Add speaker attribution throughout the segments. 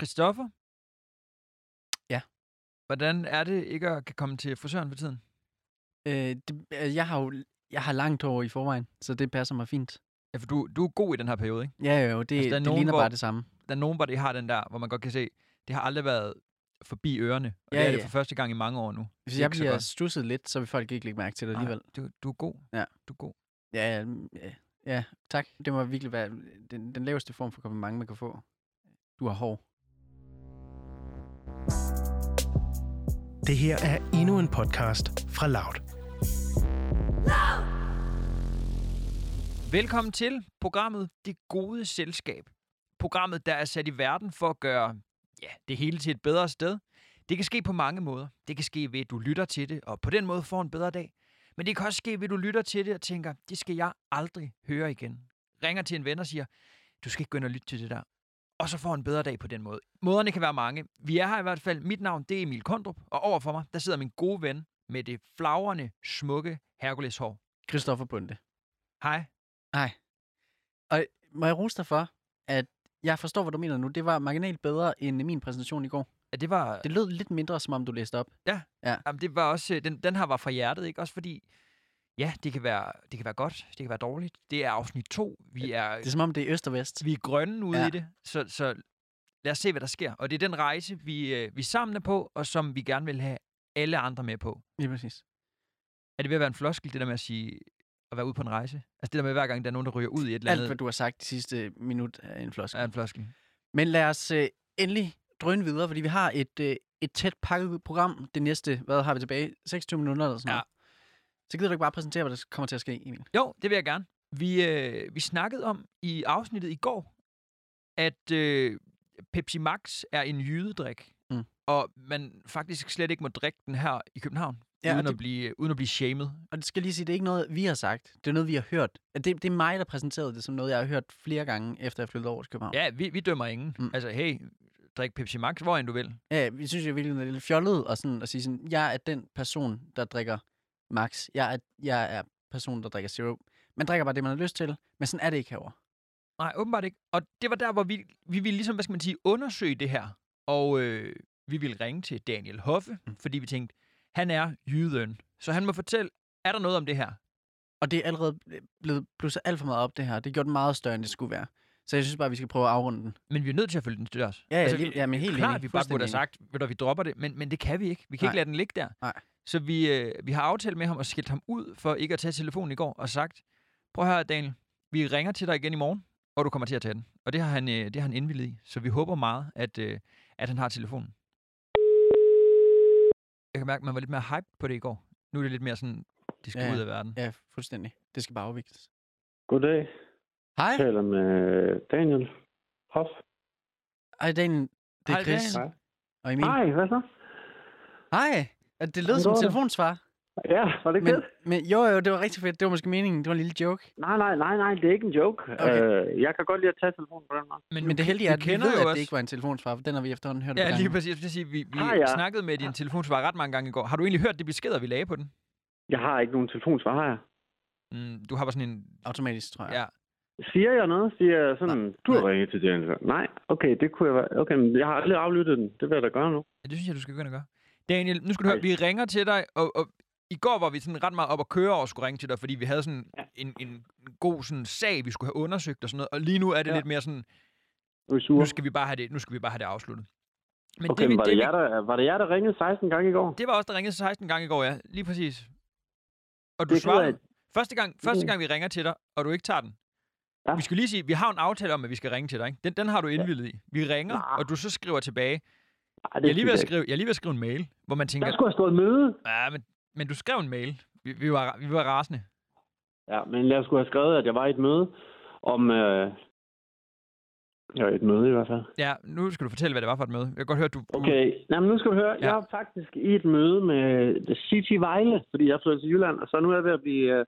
Speaker 1: Christoffer?
Speaker 2: Ja.
Speaker 1: Hvordan er det ikke at kan komme til frisøren for tiden?
Speaker 2: Øh, det, øh, jeg har jo jeg har langt hår i forvejen, så det passer mig fint.
Speaker 1: Ja, for du, du er god i den her periode, ikke?
Speaker 2: Ja, jo,
Speaker 1: Altså,
Speaker 2: det,
Speaker 1: der er
Speaker 2: altså, det
Speaker 1: nogen,
Speaker 2: ligner
Speaker 1: hvor-
Speaker 2: bare det samme.
Speaker 1: Der er nogen, hvor det har den der, hvor man godt kan se, det har aldrig været forbi ørerne. Og ja,
Speaker 2: Ja,
Speaker 1: det er det
Speaker 2: ja.
Speaker 1: for første gang i mange år nu.
Speaker 2: Hvis
Speaker 1: Det er
Speaker 2: jeg
Speaker 1: ikke så
Speaker 2: bliver
Speaker 1: godt.
Speaker 2: stusset lidt, så vil folk ikke lægge mærke til det
Speaker 1: Nej,
Speaker 2: alligevel.
Speaker 1: Du, du er god.
Speaker 2: Ja.
Speaker 1: Du er god.
Speaker 2: Ja, ja, mm, ja, ja, tak. Det må virkelig være øh, den, den laveste form for kompliment, man kan få. Du har hår.
Speaker 3: Det her er endnu en podcast fra Loud.
Speaker 1: Velkommen til programmet Det Gode Selskab. Programmet, der er sat i verden for at gøre ja, det hele til et bedre sted. Det kan ske på mange måder. Det kan ske ved, at du lytter til det, og på den måde får en bedre dag. Men det kan også ske ved, at du lytter til det og tænker, det skal jeg aldrig høre igen. Ringer til en ven og siger, du skal ikke gå ind og lytte til det der. Og så får en bedre dag på den måde. Måderne kan være mange. Vi er her i hvert fald. Mit navn, det er Emil Kondrup, og overfor mig, der sidder min gode ven med det flagrende, smukke Herkuleshår.
Speaker 2: Christoffer Bunde.
Speaker 1: Hej.
Speaker 2: Og må jeg rose dig for, at jeg forstår, hvad du mener nu. Det var marginalt bedre end min præsentation i går.
Speaker 1: Ja, det var...
Speaker 2: Det lød lidt mindre, som om du læste op.
Speaker 1: Jamen, det var også, øh, den, den her var fra hjertet, ikke? Også fordi, ja, det kan, være, det kan være godt, det kan være dårligt. Det er afsnit to. Vi er,
Speaker 2: Det er som om, det er øst og vest.
Speaker 1: vi er grønne ude ja.
Speaker 2: Ja.
Speaker 1: i det, så, så lad os se, hvad der sker. Og det er den rejse, vi, øh, vi sammen er på, og som vi gerne vil have alle andre med på.
Speaker 2: Lige præcis.
Speaker 1: Er det ved at være en floskel, det der med at sige, at være ude på en rejse? Altså det der med, hver gang der er nogen, der ryger ud i et eller
Speaker 2: Alt, hvad
Speaker 1: andet,
Speaker 2: du har sagt de sidste minut er en floskel.
Speaker 1: er en floskel.
Speaker 2: Men lad os øh, endelig drøne videre, fordi vi har et, øh, et tæt pakket program det næste, hvad har vi tilbage? 26 minutter eller sådan
Speaker 1: Ja.
Speaker 2: noget. Så gider du ikke bare præsentere, hvad der kommer til at ske, Emil?
Speaker 1: Jo, det vil jeg gerne. Vi, øh, vi snakkede om i afsnittet i går, at øh, Pepsi Max er en jydedrik,
Speaker 2: Mm.
Speaker 1: og man faktisk slet ikke må drikke den her i København,
Speaker 2: Ja,
Speaker 1: ja,
Speaker 2: og
Speaker 1: uden, det... at
Speaker 2: det-
Speaker 1: blive, øh, uden at blive shamed.
Speaker 2: Og det skal lige sige, det er ikke noget, vi har sagt. Det er noget, vi har hørt. At Det, det er mig, der præsenterede det som noget, jeg har hørt flere gange, efter jeg flyttede over til København.
Speaker 1: Ja, vi, vi dømmer ingen. Mm.
Speaker 2: Mm.
Speaker 1: Altså, hey, drik Pepsi Max, hvor end du vil.
Speaker 2: Ja, vi synes jo virkelig, det er lidt fjollet og sådan, at sige sådan, jeg er den person, der drikker max. Jeg er, jeg er personen, der drikker zero. Man drikker bare det, man har lyst til, men sådan er det ikke herovre.
Speaker 1: Nej, åbenbart ikke. Og det var der, hvor vi, vi ville ligesom, hvad skal man sige, undersøge det her. Og øh, vi ville ringe til Daniel Hoffe, mm. fordi vi tænkte, han er jyden, så han må fortælle, er der noget om det her?
Speaker 2: Og det er allerede blevet blusset alt for meget op, det her. Det er gjort meget større, end det skulle være. Så jeg synes bare, vi skal prøve at afrunde den.
Speaker 1: Men vi er nødt til at følge den til dørs.
Speaker 2: Ja, ja, lige- ja, men helt
Speaker 1: klart,
Speaker 2: enig.
Speaker 1: vi bare kunne have
Speaker 2: Fuldstændig
Speaker 1: sagt, ved du, vi dropper det, men, men det kan vi ikke. Vi kan
Speaker 2: Nej.
Speaker 1: ikke lade den ligge der.
Speaker 2: Nej.
Speaker 1: Så vi, øh, vi har aftalt med ham og skældt ham ud for ikke at tage telefonen i går og sagt, prøv at høre, Daniel, vi ringer til dig igen i morgen, og du kommer til at tage den. Og det har han, øh, det har han indvilliget i, så vi håber meget, at, øh, at han har telefonen. Jeg kan mærke, at man var lidt mere hyped på det i går. Nu er det lidt mere sådan, det skal
Speaker 2: Ja,
Speaker 1: ja. ud af verden.
Speaker 2: Ja, fuldstændig. Det skal bare afvikles.
Speaker 4: Goddag.
Speaker 2: Hej.
Speaker 4: Jeg taler med Daniel Hoff.
Speaker 2: Hej, Daniel. Det
Speaker 1: Hej,
Speaker 2: er Chris
Speaker 1: Daniel.
Speaker 2: og Emil.
Speaker 4: Nej, hvad så?
Speaker 2: Hej. Og Det lød
Speaker 4: Hvordan
Speaker 2: som
Speaker 4: går
Speaker 2: en
Speaker 4: det?
Speaker 2: telefonsvar.
Speaker 4: Ja, var det ikke
Speaker 2: Men,
Speaker 4: det?
Speaker 2: men jo, jo, det var rigtig fedt. Det var måske meningen. Det var en lille joke.
Speaker 4: Nej, nej, nej, nej, det er ikke en joke.
Speaker 2: Okay.
Speaker 4: Øh, jeg kan godt lide at tage telefonen på den måde.
Speaker 1: Men,
Speaker 2: Men det heldige er, at vi ved,
Speaker 1: kender jo
Speaker 2: at det
Speaker 1: også-
Speaker 2: ikke var en telefonsvar, for den har vi efterhånden hørt et par
Speaker 1: Ja, lige
Speaker 2: gange.
Speaker 1: præcis. Jeg skulle til at sige, vi, vi
Speaker 4: Har
Speaker 1: ah,
Speaker 4: jeg?
Speaker 1: ja. snakkede med din telefonsvar ret mange gange i går. Har du egentlig hørt de beskeder, vi lagde på den?
Speaker 4: Jeg har ikke nogen telefonsvar, har jeg?
Speaker 1: Mm, du har bare sådan en...
Speaker 2: Automatisk, tror jeg.
Speaker 1: Ja.
Speaker 4: Siger jeg noget? Siger jeg sådan, du har
Speaker 2: nej.
Speaker 4: ringet til Daniel? Nej, okay, det kunne jeg være. Okay, men jeg har aldrig aflyttet den. Det vil jeg da gøre nu.
Speaker 1: Ja, det synes jeg, du skal begynde at gøre. Daniel, nu skal du
Speaker 4: Ej.
Speaker 1: høre, vi ringer til dig, og, og i går var vi sådan ret meget op at køre og skulle ringe til dig, fordi vi havde sådan en, en god sådan sag, vi skulle have undersøgt og sådan noget, og lige nu er det ja.
Speaker 4: Ja.
Speaker 1: lidt mere sådan,
Speaker 4: Du er sur.
Speaker 1: nu skal vi bare have det, nu skal vi bare have det afsluttet. Men
Speaker 4: Okay, men
Speaker 1: vi-
Speaker 4: var det,
Speaker 1: vi-
Speaker 4: jer, der, var det jer, der ringede 16 gange i går?
Speaker 1: det var også der ringede 16 gange i går, ja, lige præcis. Og du
Speaker 4: Det er
Speaker 1: svarer,
Speaker 4: ked af.
Speaker 1: første gang, første
Speaker 4: Mm.
Speaker 1: gang vi ringer til dig, og du ikke tager den.
Speaker 4: Ja.
Speaker 1: Vi skal lige sige, vi har en aftale om, at vi skal ringe til dig. Ikke? Den, den har du indvildet i. Vi ringer,
Speaker 4: Nej.
Speaker 1: og du så skriver tilbage.
Speaker 4: Nej, det
Speaker 1: Jeg er lige ved at
Speaker 4: synes jeg ikke.
Speaker 1: skrive, jeg er lige ved at skrive en mail, hvor man tænker,
Speaker 4: Der skulle have stået møde.
Speaker 1: Ja, men, men du skrev en mail. Vi, vi, var, vi var rasende.
Speaker 4: Ja, men jeg skulle have skrevet, at jeg var i et møde om... Øh... Jeg var i et møde i hvert fald.
Speaker 1: Ja, nu skal du fortælle, hvad det var for et møde. Jeg kan godt høre, du... du-
Speaker 4: Okay, Nå, men nu skal du høre.
Speaker 1: Ja.
Speaker 4: Ja. Jeg er faktisk i et møde med City Vejle, fordi jeg flytter til Jylland, og så nu er jeg ved at blive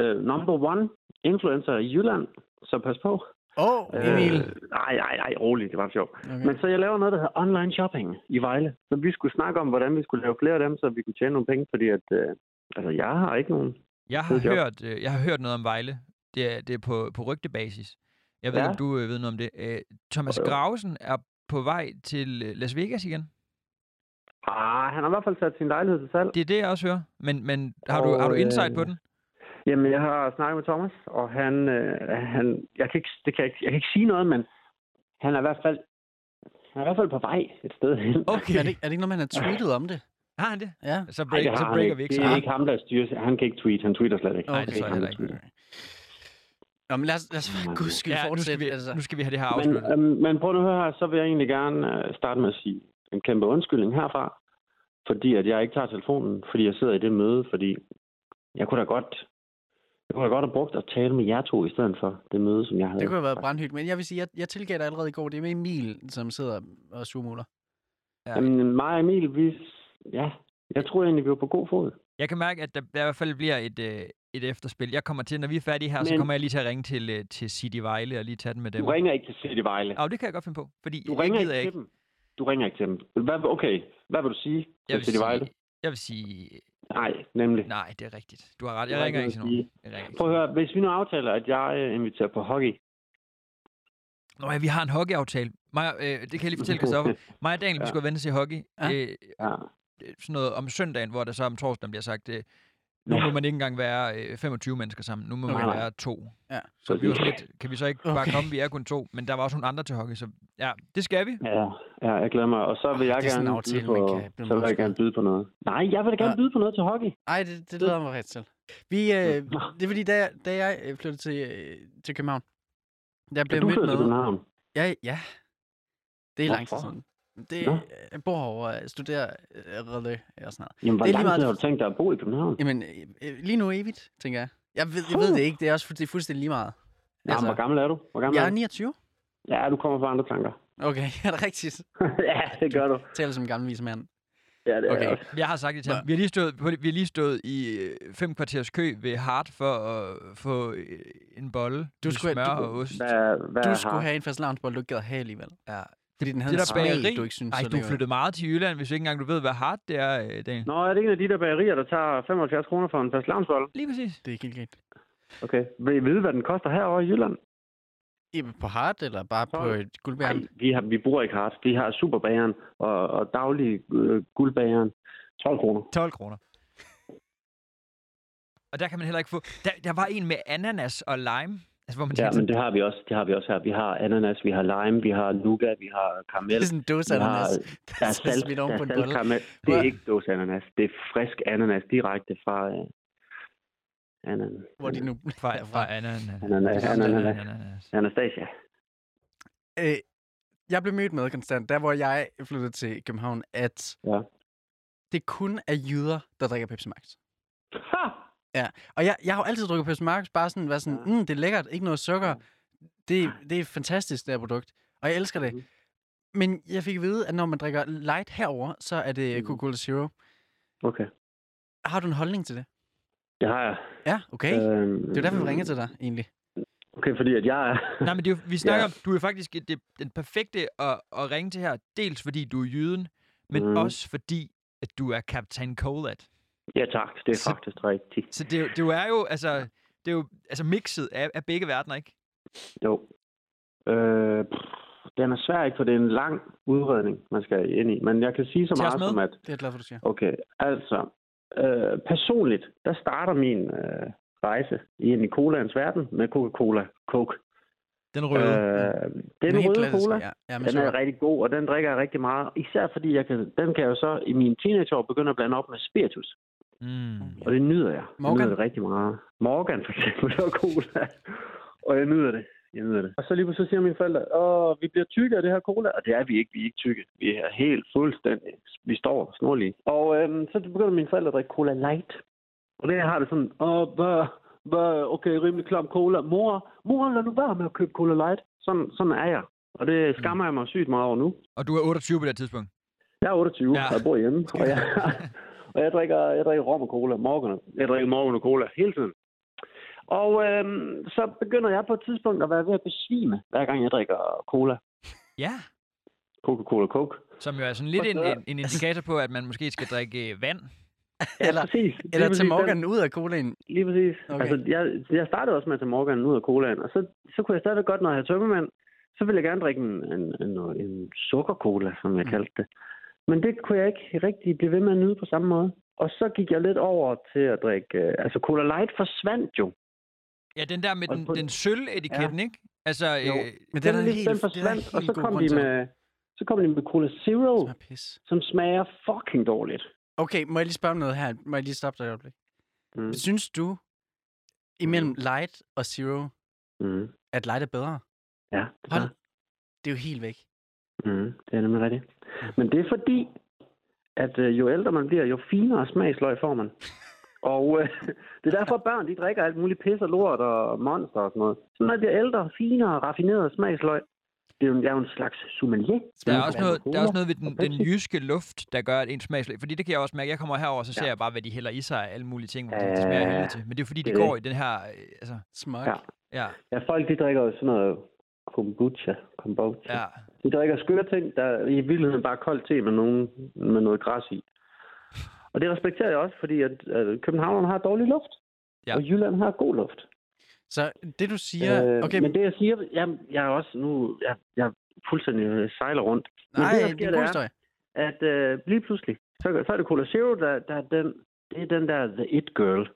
Speaker 4: uh, number one influencer i Jylland. Så pas på.
Speaker 2: Åh, oh, Emil.
Speaker 4: Øh, nej, nej, nej, rolig, det var sjovt.
Speaker 2: Okay.
Speaker 4: Men så jeg laver noget, der hedder online shopping i Vejle. Så vi skulle snakke om, hvordan vi skulle lave flere af dem, så vi kunne tjene nogle penge, fordi at, øh, altså, jeg har ikke nogen.
Speaker 1: Jeg har,
Speaker 4: det er jo-
Speaker 1: hørt, øh, jeg har hørt noget om Vejle. Det er, det er på, på rygtebasis. Jeg ved
Speaker 4: Ja.
Speaker 1: ikke, om du øh, ved noget om det. Øh, Thomas
Speaker 4: Jo, jo.
Speaker 1: Gravesen er på vej til øh, Las Vegas igen?
Speaker 4: Ah, han har i hvert fald sat sin lejlighed til salg.
Speaker 1: Det er det, jeg også hører. Men, men har, du,
Speaker 4: Og,
Speaker 1: har du insight på
Speaker 4: øh,
Speaker 1: den?
Speaker 4: Jamen, jeg har snakket med Thomas, og han, øh, han jeg, kan ikke, det kan jeg, ikke- jeg kan ikke sige noget, men han er i hvert fald, han er i hvert fald på vej et sted hen.
Speaker 1: Okay.
Speaker 2: Er det, ikke- er det ikke noget, man har tweetet om det?
Speaker 1: Har han det?
Speaker 2: Ja.
Speaker 1: Så,
Speaker 4: Ej,
Speaker 1: break,
Speaker 4: det
Speaker 1: så
Speaker 4: har han
Speaker 1: breaker vi ikke
Speaker 4: Det
Speaker 1: så
Speaker 4: er
Speaker 1: meget.
Speaker 4: ikke ham, der styrer. Han kan ikke tweet. Han tweeter slet ikke.
Speaker 1: Nej, det tror jeg
Speaker 4: Han
Speaker 1: heller ikke.
Speaker 4: tweeter.
Speaker 2: Nå, men lad os, lad os for guds skyld
Speaker 1: Ja, nu skal,
Speaker 2: fortsætte.
Speaker 1: vi,
Speaker 2: altså.
Speaker 1: nu skal vi have det her
Speaker 4: Men,
Speaker 1: afsluttet.
Speaker 4: øhm, men prøv nu at høre her, så vil jeg egentlig gerne øh, starte med at sige en kæmpe undskyldning herfra, fordi at jeg ikke tager telefonen, fordi jeg sidder i det møde, fordi jeg kunne da godt, jeg kunne da godt have brugt at tale med jer to i stedet for det møde, som jeg havde.
Speaker 2: Det kunne have været brandhygt, men jeg vil sige, jeg, jeg tilgav dig allerede i går. Det er med Emil, som sidder og surmuler.
Speaker 4: Jamen, mig og Emil, vi, ja, jeg tror egentlig, vi var på god fod.
Speaker 1: Jeg kan mærke, at der, der i hvert fald bliver et, øh, et efterspil. Jeg kommer til, når vi er færdige her, så
Speaker 4: Men-
Speaker 1: kommer jeg lige til at ringe til, øh, til City Vejle og lige tage den med dem.
Speaker 4: Du ringer ikke til City Vejle.
Speaker 1: Ah, det kan jeg godt finde på, fordi
Speaker 4: Du
Speaker 1: jeg
Speaker 4: ringer
Speaker 1: gider
Speaker 4: ikke til dem. Du ringer ikke til dem. Hvad, okay, hvad vil du sige
Speaker 1: Jeg
Speaker 4: øh, til
Speaker 1: vil,
Speaker 4: City Vejle?
Speaker 1: sige, jeg vil sige,
Speaker 4: Nej, nemlig.
Speaker 1: nej, det er rigtigt. Du har ret,
Speaker 4: Du
Speaker 1: jeg
Speaker 4: har
Speaker 1: ringer
Speaker 4: ikke
Speaker 1: ikke til
Speaker 4: noget at
Speaker 1: nogen. Jeg ringer ikke
Speaker 4: Prøv
Speaker 1: til
Speaker 4: at høre, hvis vi nu aftaler, at jeg øh, inviterer på hockey.
Speaker 1: nogen. Nå ja, vi har en hockey-aftale. Maja, øh, det kan jeg lige fortælle, Christoffer. Mig og Daniel, vi
Speaker 4: Ja.
Speaker 1: skulle have vendt os i hockey.
Speaker 2: Ja.
Speaker 1: Øh,
Speaker 4: Ja.
Speaker 1: øh, sådan noget om søndagen, hvor der så om torsdagen bliver sagt, øh, nu må man ikke engang være øh, 25 mennesker sammen, nu må
Speaker 2: Okay.
Speaker 1: man være to.
Speaker 2: Ja.
Speaker 1: Så vi var sådan lidt, kan vi så ikke bare
Speaker 2: Okay.
Speaker 1: komme, vi er kun to, men der var også nogle andre til hockey, så ja, det skal vi.
Speaker 4: Ja, ja, jeg glæder mig. Og så vil jeg
Speaker 2: det er sådan
Speaker 4: gerne
Speaker 2: en
Speaker 4: byde
Speaker 2: aftale, man
Speaker 4: på,
Speaker 2: kan blive
Speaker 4: så vil jeg
Speaker 2: måske.
Speaker 4: gerne byde på noget. Nej, jeg vil da gerne
Speaker 2: Ja.
Speaker 4: byde på noget til hockey.
Speaker 2: Ej, det, det lader mig ret til. Vi, øh,
Speaker 4: Nå.
Speaker 2: det er fordi, da jeg, da jeg øh, flyttede til, øh, til København, der
Speaker 4: Er
Speaker 2: blev
Speaker 4: du
Speaker 2: jeg
Speaker 4: flyttet til
Speaker 2: mødt med...
Speaker 4: København?
Speaker 2: Ja, ja. Det er lang tid
Speaker 4: Hvorfor?
Speaker 2: siden. Det, øh,
Speaker 4: Nå.
Speaker 2: jeg bor herovre, jeg studerer øh, Rødø og sådan noget.
Speaker 4: Jamen, hvor
Speaker 2: Det er lige
Speaker 4: lang
Speaker 2: meget-
Speaker 4: tid har du tænkt dig at bo i København?
Speaker 2: Jamen, øh, øh, lige nu evigt, tænker jeg. Jeg ved, jeg ved det ikke, det er også fu- det er fuldstændig lige meget.
Speaker 4: Jamen, hvor gammel er du? Hvor gammel
Speaker 2: Altså, jeg
Speaker 4: er
Speaker 2: er
Speaker 4: du?
Speaker 2: 29.
Speaker 4: Ja, du kommer fra andre tanker.
Speaker 2: Okay, er det rigtigt?
Speaker 4: ja, det gør du.
Speaker 2: Taler som en gammel vis mand.
Speaker 4: Ja, det
Speaker 2: Okay.
Speaker 4: er også.
Speaker 1: Jeg har sagt det til ham.
Speaker 2: Nå.
Speaker 1: Vi har lige stået, på, vi har lige stået i øh, fem kvarters kø ved Hart for at få øh, en bolle
Speaker 2: Du
Speaker 1: med
Speaker 2: skulle-
Speaker 1: smør
Speaker 2: du-
Speaker 1: og ost.
Speaker 4: Hvad, hvad
Speaker 2: Du
Speaker 4: er
Speaker 2: skulle
Speaker 4: har?
Speaker 2: have en fast lavnsbold, du ikke gad have alligevel.
Speaker 1: Ja.
Speaker 2: Fordi den havde
Speaker 1: Det
Speaker 2: en
Speaker 1: der bageri.
Speaker 2: smag, du ikke synes
Speaker 1: Ej,
Speaker 2: så
Speaker 1: du
Speaker 2: lækker.
Speaker 1: flyttede meget til Jylland, hvis ikke engang du ved, hvad Hart det er, øh, Daniel.
Speaker 4: Nå, er det en af de der bagerier, der tager 75 kroner for en fast lamsbold?
Speaker 1: Lige præcis.
Speaker 2: Det er ikke helt rigtigt.
Speaker 4: Okay. Vil I vide, hvad den koster herovre i Jylland?
Speaker 2: I- På hard eller bare på
Speaker 4: Tolv.
Speaker 2: et
Speaker 4: Nej,
Speaker 2: guldbærn?
Speaker 4: vi, har, vi bruger ikke hart. Vi har superbageren og, og daglig øh, guldbageren. 12 kroner.
Speaker 1: 12 kroner. Og der kan man heller ikke få... Der, der var en med ananas og lime. Altså, hvor man
Speaker 4: Ja,
Speaker 1: tænkte,
Speaker 4: men det har vi også. Det har vi også her. Vi har ananas, vi har lime, vi har nougat, vi har
Speaker 2: Det
Speaker 4: karamel.
Speaker 2: er sådan en dåse
Speaker 4: vi har-
Speaker 2: ananas,
Speaker 4: Der
Speaker 2: der
Speaker 4: er
Speaker 2: er
Speaker 4: salt,
Speaker 2: smidt
Speaker 4: der
Speaker 2: oven på
Speaker 4: er
Speaker 2: en
Speaker 4: salt
Speaker 2: bolle.
Speaker 4: karamel. Det er
Speaker 2: Hvor-
Speaker 4: ikke dåse ananas. Det er frisk ananas direkte fra øh, anan,
Speaker 2: Hvor de nu
Speaker 1: fra,
Speaker 2: er
Speaker 1: fra ananas.
Speaker 4: ananas, ananas,
Speaker 1: ananas.
Speaker 4: anastasia.
Speaker 2: Øh, jeg blev mødt med konstant, der hvor jeg flyttede til København, at
Speaker 4: Ja.
Speaker 2: det kun er jyder, der drikker Pepsi Max.
Speaker 4: Ha!
Speaker 2: Og jeg, jeg har jo altid drukket Pepsi Max, bare sådan, været sådan,
Speaker 4: Ja.
Speaker 2: mm, det er lækkert, ikke noget sukker.
Speaker 4: Ja.
Speaker 2: Det, det er fantastisk, det her produkt. Og jeg elsker det.
Speaker 4: Mhm.
Speaker 2: Men jeg fik at vide, at når man drikker light herover, så er det
Speaker 4: Mhm.
Speaker 2: Coca-Cola Zero.
Speaker 4: Okay,
Speaker 2: Har du en holdning til det?
Speaker 4: det har jeg.
Speaker 2: Ja, okay.
Speaker 4: Øhm,
Speaker 2: Det er jo derfor, vi ringer til dig, egentlig.
Speaker 4: Okay, fordi at jeg er...
Speaker 1: Nej, men det er, jo- vi snakker
Speaker 4: Ja.
Speaker 1: om, du er faktisk et- det, den perfekte at, at ringe til her. Dels fordi du er jyden, men
Speaker 4: Mhm.
Speaker 1: mm. også fordi, at du er kaptajn Colat.
Speaker 4: Ja tak, det er
Speaker 1: Så-
Speaker 4: faktisk rigtigt.
Speaker 1: Så det, er jo- det er jo, altså, det er jo altså mixet af, af begge verdener, ikke?
Speaker 4: Jo. Øh, pff, den er svær ikke, for det er en lang udredning, man skal ind i. Men jeg kan sige så
Speaker 1: Tag os
Speaker 4: meget
Speaker 1: med.
Speaker 4: som, at
Speaker 2: Det er jeg glad for, du siger.
Speaker 4: Okay, altså øh, personligt, der starter min øh, rejse ind i colaens verden med Coca-Cola Coke.
Speaker 1: Den
Speaker 4: Øh,
Speaker 1: røde. Øh,
Speaker 4: den
Speaker 2: Mm. helt
Speaker 4: røde
Speaker 2: klassisk,
Speaker 4: cola,
Speaker 2: Ja, ja, men
Speaker 4: den
Speaker 2: så,
Speaker 4: er rigtig god, og den drikker jeg rigtig meget. Især fordi, jeg kan, den kan jeg jo så i mine teenageår begynde at blande op med spiritus.
Speaker 1: mm.
Speaker 4: Og det nyder jeg.
Speaker 2: Morgan?
Speaker 4: Jeg nyder det rigtig meget. Morgan for eksempel, det var cola. Og jeg nyder det. Jeg nyder det. Og så lige pludselig siger mine forældre, åh, vi bliver tykke af det her cola. Og det er vi ikke. Vi er ikke tykke. Vi er helt fuldstændig. Vi står snorlige. Og øhm, så begynder mine forældre at drikke cola light. Og det har det sådan, åh, hvad, hvad, okay, rimelig klam cola. Mor, mor, lad nu være med at købe cola light. Sådan, sådan er jeg. Og det skammer jeg mig sygt meget over nu.
Speaker 1: Og du er 28 på det her tidspunkt.
Speaker 4: Jeg er 28,
Speaker 1: Ja.
Speaker 4: ja. og jeg bor hjemme, og jeg, og jeg drikker, jeg drikker rom og cola morgen. Jeg drikker morgen og cola hele tiden. Og øhm, så begynder jeg på et tidspunkt at være ved at besvime, hver gang jeg drikker cola.
Speaker 1: Ja,
Speaker 4: Coca-Cola Coke.
Speaker 1: som jo er sådan lidt en,
Speaker 4: Forstår jeg.
Speaker 1: en, en indikator på, at man måske skal drikke øh, vand.
Speaker 2: eller,
Speaker 4: Præcis. Lige
Speaker 2: eller
Speaker 4: præcis
Speaker 2: til
Speaker 4: den-
Speaker 2: Morgan ud af colaen.
Speaker 4: Lige præcis.
Speaker 2: Okay.
Speaker 4: Okay. Altså, jeg, jeg startede også med at tage Morgan ud af colaen, og så, så kunne jeg stadigvæk godt, når jeg havde tømmermænd, så ville jeg gerne drikke en, en, en, en sukkercola, som
Speaker 2: Mm.
Speaker 4: jeg kaldte det. Men det kunne jeg ikke rigtig blive ved med at nyde på samme måde. Og så gik jeg lidt over til at drikke... øh, Altså, Cola Light forsvandt jo.
Speaker 1: Ja, den der med
Speaker 4: Og
Speaker 1: den,
Speaker 4: på-
Speaker 1: den sølvetiketten, ikke? Altså,
Speaker 4: Jo.
Speaker 1: øh,
Speaker 2: Men det er da
Speaker 4: den,
Speaker 2: en
Speaker 4: lidt-
Speaker 2: helt,
Speaker 4: den forsvandt, og så kom, de
Speaker 2: Det
Speaker 4: med, så kom de med Cola Zero,
Speaker 2: er pis.
Speaker 4: som smager fucking dårligt.
Speaker 2: Okay, må jeg lige spørge om noget her? Må jeg lige stoppe dig et øjeblik?
Speaker 4: Mm.
Speaker 2: Synes du, imellem light og zero,
Speaker 4: Mm.
Speaker 2: at light er bedre?
Speaker 4: Ja, det er
Speaker 2: Hold, det er jo helt væk.
Speaker 4: Mm, det er nemlig rigtigt. Men det er fordi, at øh, jo ældre man bliver, jo finere smagsløg får man. Og øh, det er derfor, at børn de drikker alt muligt pis og lort og monster og sådan noget. Så når de bliver ældre, finere, raffineret smagsløg, det er jo, jeg er jo en slags sommelier.
Speaker 1: der, er
Speaker 4: Det
Speaker 1: også
Speaker 4: jo
Speaker 1: noget, der er også noget ved
Speaker 4: og
Speaker 1: den, den
Speaker 4: Pepsi.
Speaker 1: jyske luft, der gør, at ens smagslag... Fordi det kan jeg også mærke. Jeg kommer herover, så ser
Speaker 4: Ja.
Speaker 1: jeg bare, hvad de hælder i sig af alle mulige ting, hvor det smager af
Speaker 4: Ja.
Speaker 1: helvede til. Men det er fordi, de
Speaker 4: Det er
Speaker 1: går i den her... øh, Altså,
Speaker 2: Smuk.
Speaker 4: Ja.
Speaker 1: ja,
Speaker 4: Ja, folk de drikker jo sådan noget kombucha. kombucha.
Speaker 1: ja.
Speaker 4: De drikker skøre ting, der i virkeligheden bare er koldt te med, nogen, med noget græs i. Og det respekterer jeg også, fordi at, at København har dårlig luft.
Speaker 1: Ja.
Speaker 4: Ja. Og Jylland har god luft.
Speaker 2: Så det, du siger...
Speaker 4: Øh,
Speaker 2: Okay,
Speaker 4: Men det, jeg siger, jamen, jeg er også nu, jeg, jeg fuldstændig øh, sejler rundt, men
Speaker 2: nej,
Speaker 4: det, der
Speaker 2: det er
Speaker 4: sker,
Speaker 2: en
Speaker 4: det
Speaker 2: god
Speaker 4: er-
Speaker 2: historie.
Speaker 4: at øh, lige pludselig, så, så er det Cola Zero, der, der er den, det er den der The It Girl.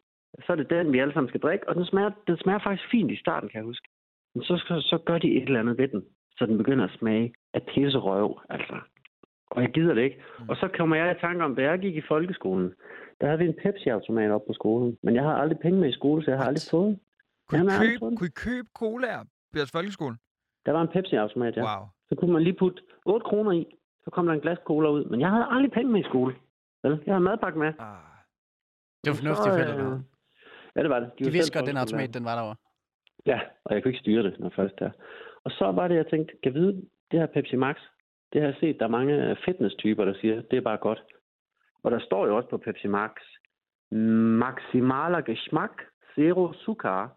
Speaker 4: Så er det den, vi alle sammen skal drikke, og den smager, den smager faktisk fint i starten, kan jeg huske. Men så, så, så gør de et eller andet ved den, så den begynder at smage af pisserøv, altså. Og jeg gider det ikke.
Speaker 1: Mm.
Speaker 4: Og så kommer jeg i tanke om, da jeg gik i folkeskolen, der havde vi en Pepsi-automat op på skolen. Men jeg har aldrig penge med i skole, så jeg har aldrig fået den.
Speaker 1: Kunne,
Speaker 4: Jamen,
Speaker 1: I
Speaker 4: jeg har aldrig
Speaker 1: købe,
Speaker 4: fået den.
Speaker 1: kunne I købe colaer på jeres folkeskole?
Speaker 4: Der var en Pepsi-automat, ja.
Speaker 1: Wow.
Speaker 4: Så kunne man lige putte 8 kroner i, så kom der en glas cola ud. Men jeg havde aldrig penge med i skole. Vel, jeg havde madpakke med.
Speaker 1: Ah.
Speaker 2: Det var fornuftigt,
Speaker 4: Så,
Speaker 2: forældre. der
Speaker 4: øh,
Speaker 2: var.
Speaker 4: Ja, det var det.
Speaker 2: De
Speaker 4: var
Speaker 2: vidste
Speaker 4: selv
Speaker 2: godt, den
Speaker 4: folkeskolelærer.
Speaker 2: automat, den var derovre.
Speaker 4: Ja, og jeg kunne ikke styre det, når først der. Og så var det, jeg tænkte, kan jeg vide, det her Pepsi Max, det har jeg set, der er mange øh, fitness-typer, der siger, det er bare godt. Og der står jo også på Pepsi Max, maximaler Geschmack, zero sukker.
Speaker 1: Og,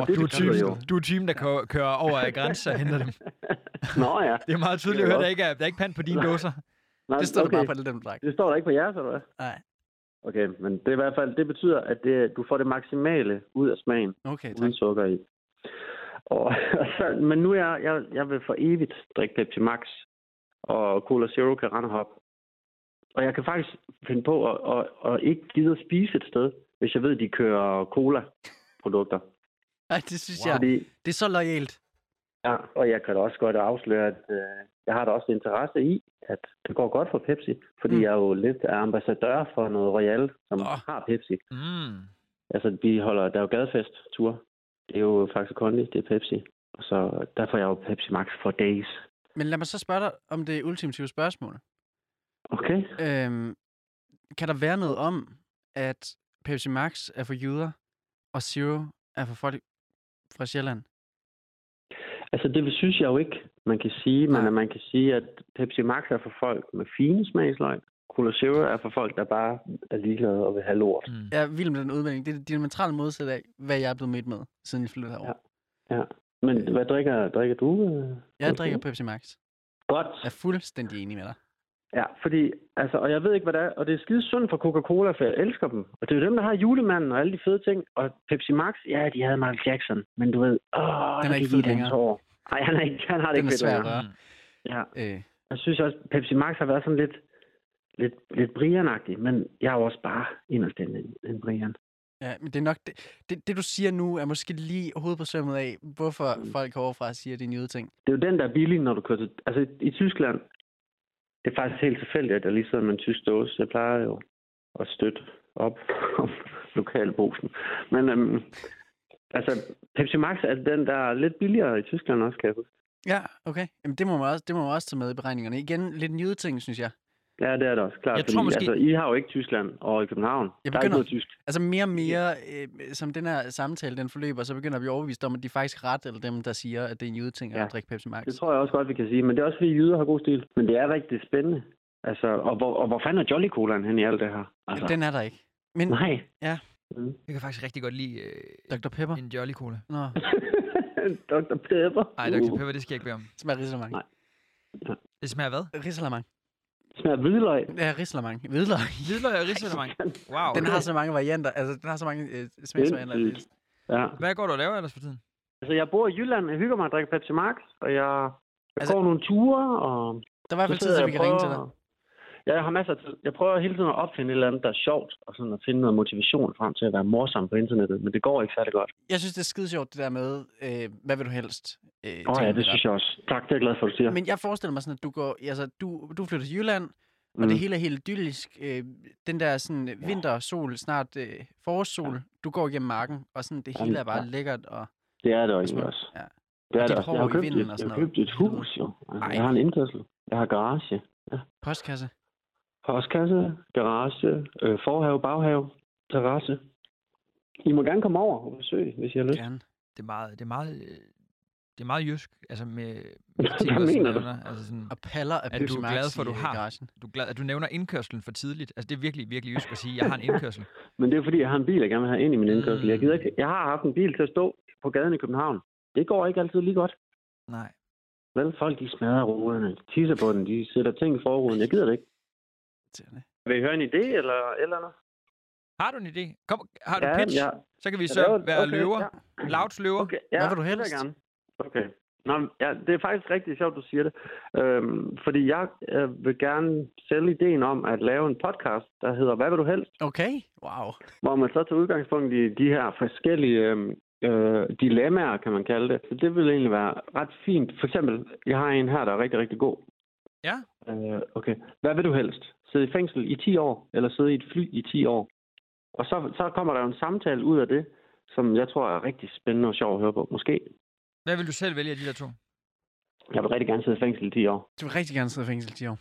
Speaker 1: og
Speaker 4: det
Speaker 1: du, er
Speaker 4: betyder
Speaker 1: typen,
Speaker 4: jo-
Speaker 1: du er typen, der kører, kører over af grænser og henter dem.
Speaker 4: Nå ja.
Speaker 1: Det er meget tydeligt at
Speaker 4: Det er
Speaker 1: høre,
Speaker 4: godt.
Speaker 1: der ikke er, der er ikke pand på dine dåser.
Speaker 4: Nej,
Speaker 2: Det stod okay. der bare på det, den drak.
Speaker 4: det står der ikke på jeres, eller hvad?
Speaker 2: Nej,
Speaker 4: Okay, men det er i hvert fald, det betyder, at det, du får det maksimale ud af smagen,
Speaker 2: okay, tak.
Speaker 4: uden sukker i. Og, så, men nu er jeg, jeg, jeg vil for evigt drikke Pepsi Max, og Cola Zero kan rende og hoppe. Og jeg kan faktisk finde på at, at, at ikke gide at spise et sted, hvis jeg ved, at de kører cola-produkter.
Speaker 2: Ej, det synes
Speaker 1: Wow.
Speaker 2: jeg,
Speaker 4: Fordi,
Speaker 2: det er så lojalt.
Speaker 4: ja, og jeg kan da også godt afsløre, at øh, jeg har da også interesse i, at det går godt for Pepsi. Fordi
Speaker 2: Mm.
Speaker 4: mm. jeg er jo lidt er ambassadør for noget Royal, som
Speaker 2: Nå.
Speaker 4: oh. har Pepsi.
Speaker 1: Mm.
Speaker 4: Altså, vi holder, der er jo gadefest-tur. Det er jo faktisk Kondi, det er Pepsi. Og så der får jeg jo Pepsi Max for days.
Speaker 2: Men lad mig så spørge dig om det ultimative spørgsmål.
Speaker 4: Okay?
Speaker 2: Øhm, kan der være noget om, at Pepsi Max er for jøder, og Zero er for folk fra Sjælland?
Speaker 4: Altså, det synes jeg jo ikke, man kan sige. Men
Speaker 2: Nej.
Speaker 4: at man kan sige, at Pepsi Max er for folk med fine smagsløg. Cola Zero er for folk, der bare er ligeglade og vil have lort.
Speaker 1: Mm.
Speaker 2: Jeg er vild med den udmelding. Det er det diametralt modsatte af, hvad jeg er blevet mødt med, siden jeg flyttede herover.
Speaker 4: Men hvad drikker, drikker du? øh?
Speaker 2: Jeg
Speaker 4: Okay.
Speaker 2: drikker Pepsi Max. Jeg er
Speaker 4: Godt.
Speaker 2: fuldstændig enig med dig.
Speaker 4: Ja, fordi, altså, og jeg ved ikke, hvad det er. Og det er skide synd for Coca-Cola, for jeg elsker dem. Og det er jo dem, der har julemanden og alle de fede ting. Og Pepsi Max, ja, de havde Michael Jackson. Men du ved, åh,
Speaker 2: Den er ikke fed længere.
Speaker 4: Nej, han, er ikke, han har det
Speaker 2: Den er
Speaker 4: ikke fedt
Speaker 2: svær at
Speaker 4: længere.
Speaker 2: røre.
Speaker 1: Mm.
Speaker 4: Ja,
Speaker 2: Øh,
Speaker 4: jeg synes også, Pepsi Max har været sådan lidt, lidt, lidt brianagtig, men jeg er jo også bare inderst inde en, en brian.
Speaker 2: ja, men det er nok... Det, det, det, du siger nu, er måske lige hovedet på sømmet af, hvorfor
Speaker 4: Mm.
Speaker 2: folk heroverfra siger, at det er en jødeting.
Speaker 4: Det er jo den, der er billig, når du kører til... Altså, i, i Tyskland, det er faktisk helt tilfældigt, at jeg lige sidder med en tysk dåse. Jeg plejer jo at støtte op om lokalbrusen. Men øhm, altså, Pepsi Max er den, der er lidt billigere i Tyskland også, kan jeg huske.
Speaker 2: Ja, okay. Jamen, det må man også, det må man også tage med i beregningerne. Igen, lidt en jødeting, synes jeg.
Speaker 4: Ja, det er det også, klart.
Speaker 1: Jeg tror måske-
Speaker 4: Altså, I har jo ikke Tyskland, og i København,
Speaker 2: Jeg
Speaker 4: der er ikke
Speaker 2: begynder-
Speaker 4: noget tysk.
Speaker 2: Altså mere og mere, øh, som den her samtale den forløber, så begynder vi overbevist om, at de faktisk er ret, eller dem, der siger, at det er en jødeting ja.
Speaker 4: Ja.
Speaker 2: at drikke Pepsi Max.
Speaker 4: Det tror jeg også godt, vi kan sige. Men det er også, fordi jyder har god stil. Men det er rigtig spændende. Altså, og hvor, og hvor fanden er Jolly Colaen hen i alt det her? Altså,
Speaker 2: Jamen, den er der ikke. Men
Speaker 4: Nej.
Speaker 2: Ja.
Speaker 4: Mm.
Speaker 1: Jeg kan faktisk rigtig godt lide øh,
Speaker 2: Dr. Pepper?
Speaker 1: en Jolly Cola.
Speaker 2: Nå,
Speaker 4: Dr. Pepper.
Speaker 1: Nej, Dr.
Speaker 4: Uh.
Speaker 1: Pepper, det skal jeg ikke bede om.
Speaker 2: smager risalamang.
Speaker 4: Nej.
Speaker 1: Det smager hvad?
Speaker 2: Risalamang.
Speaker 4: Smager af hvidløg.
Speaker 2: Ja, risalamang. Hvidløg.
Speaker 1: Hvidløg og risalemang. Wow.
Speaker 2: Den har så mange varianter, altså den har så mange øh, smagsvarianter. at det-
Speaker 4: Sindssygt. Ja.
Speaker 1: Hvad går du og laver ellers for tiden?
Speaker 4: Altså, jeg bor i Jylland, jeg hygger mig og drikker Pepsi Max, og jeg, jeg
Speaker 2: Altså-
Speaker 4: altså, går nogle ture, og
Speaker 2: Der var i hvert fald tid, til vi kan ringe til dig.
Speaker 4: Ja, jeg har masser af tid. Jeg prøver hele tiden at opfinde et eller andet, der er sjovt, og sådan at finde noget motivation frem til at være morsom på internettet, men det går ikke særlig godt.
Speaker 2: Jeg synes, det er skide sjovt, det der med, øh, hvad vil du helst? Øh,
Speaker 4: Åh oh, ja,
Speaker 2: tingene
Speaker 4: det
Speaker 2: der.
Speaker 4: synes jeg også. Tak, det er jeg glad for, at du siger.
Speaker 2: Men jeg forestiller mig sådan, at du går, altså, du, du flytter til Jylland, og
Speaker 4: Mm.
Speaker 2: det hele er helt idyllisk. Øh, den der sådan øh, vinter, sol, snart øh, forårssol, du går igennem marken, og sådan, det hele
Speaker 4: Jamen,
Speaker 2: er bare
Speaker 4: ja.
Speaker 2: lækkert. Og,
Speaker 4: Det er det jo
Speaker 2: smukt,
Speaker 4: egentlig også.
Speaker 2: ja.
Speaker 4: Det
Speaker 2: Og
Speaker 4: er
Speaker 2: dit
Speaker 4: det også. Jeg
Speaker 2: hår
Speaker 4: har
Speaker 2: i
Speaker 4: købt
Speaker 2: vinden
Speaker 4: et,
Speaker 2: og
Speaker 4: jeg
Speaker 2: sådan
Speaker 4: har
Speaker 2: noget.
Speaker 4: købt et hus, jo. Altså,
Speaker 2: Ej.
Speaker 4: jeg har en indkørsel. Jeg har garage.
Speaker 2: postkasse.
Speaker 4: Postkasse, garage, øh, forhave, baghave, terrasse. I må gerne komme over og besøge, hvis I har lyst.
Speaker 2: Gerne.
Speaker 1: Det er meget, det er meget, øh, det er meget jysk. Altså med,
Speaker 4: Hvad
Speaker 1: ting, du også
Speaker 4: mener du?
Speaker 1: nævner. Altså sådan,
Speaker 2: Og paller af
Speaker 1: Er
Speaker 2: Pepsi
Speaker 1: du
Speaker 2: Max
Speaker 1: glad for,
Speaker 2: i,
Speaker 1: du
Speaker 2: øh,
Speaker 1: har?
Speaker 2: garagen.
Speaker 1: du, er glad, at du nævner indkørslen for tidligt. Altså det er virkelig, virkelig jysk at sige, jeg har en indkørsel.
Speaker 4: Men det er fordi, jeg har en bil, jeg gerne vil have ind i min indkørsel. Jeg,
Speaker 1: Mm.
Speaker 4: gider ikke. jeg har haft en bil til at stå på gaden i København. Det går ikke altid lige godt.
Speaker 1: Nej.
Speaker 4: Vel, folk de smadrer ruderne, de tisser på den, de sætter ting i forruden. Jeg gider det ikke.
Speaker 2: Irriterende.
Speaker 4: Vil I høre en idé eller eller noget?
Speaker 1: Har du en idé? Kom, har du pitch?
Speaker 4: ja.
Speaker 1: Så kan vi
Speaker 4: Jeg
Speaker 1: så
Speaker 4: laver det.
Speaker 1: være
Speaker 4: Okay,
Speaker 1: løver.
Speaker 4: ja.
Speaker 1: Louds løver.
Speaker 4: Okay, ja,
Speaker 2: Hvad vil du
Speaker 4: det
Speaker 2: helst?
Speaker 4: Jeg gerne. Okay. Nå, men, ja, det er faktisk rigtig sjovt, du siger det. Øhm, fordi jeg øh, vil gerne sælge ideen om at lave en podcast, der hedder Hvad vil du helst?
Speaker 2: Okay, wow.
Speaker 4: hvor man så tager udgangspunkt i de her forskellige øh, øh, dilemmaer, kan man kalde det. Så det ville egentlig være ret fint. For eksempel, jeg har en her, der er rigtig, rigtig god.
Speaker 1: Ja.
Speaker 4: Øh, okay. Hvad vil du helst? Sidde i fængsel i 10 år, eller sidde i et fly i 10 år? Og så, så kommer der jo en samtale ud af det, som jeg tror er rigtig spændende og sjov at høre på. Måske.
Speaker 1: Hvad vil du selv vælge af de der to?
Speaker 4: Jeg vil rigtig gerne sidde i fængsel i 10 år.
Speaker 2: Du vil rigtig gerne sidde i fængsel, 10 år.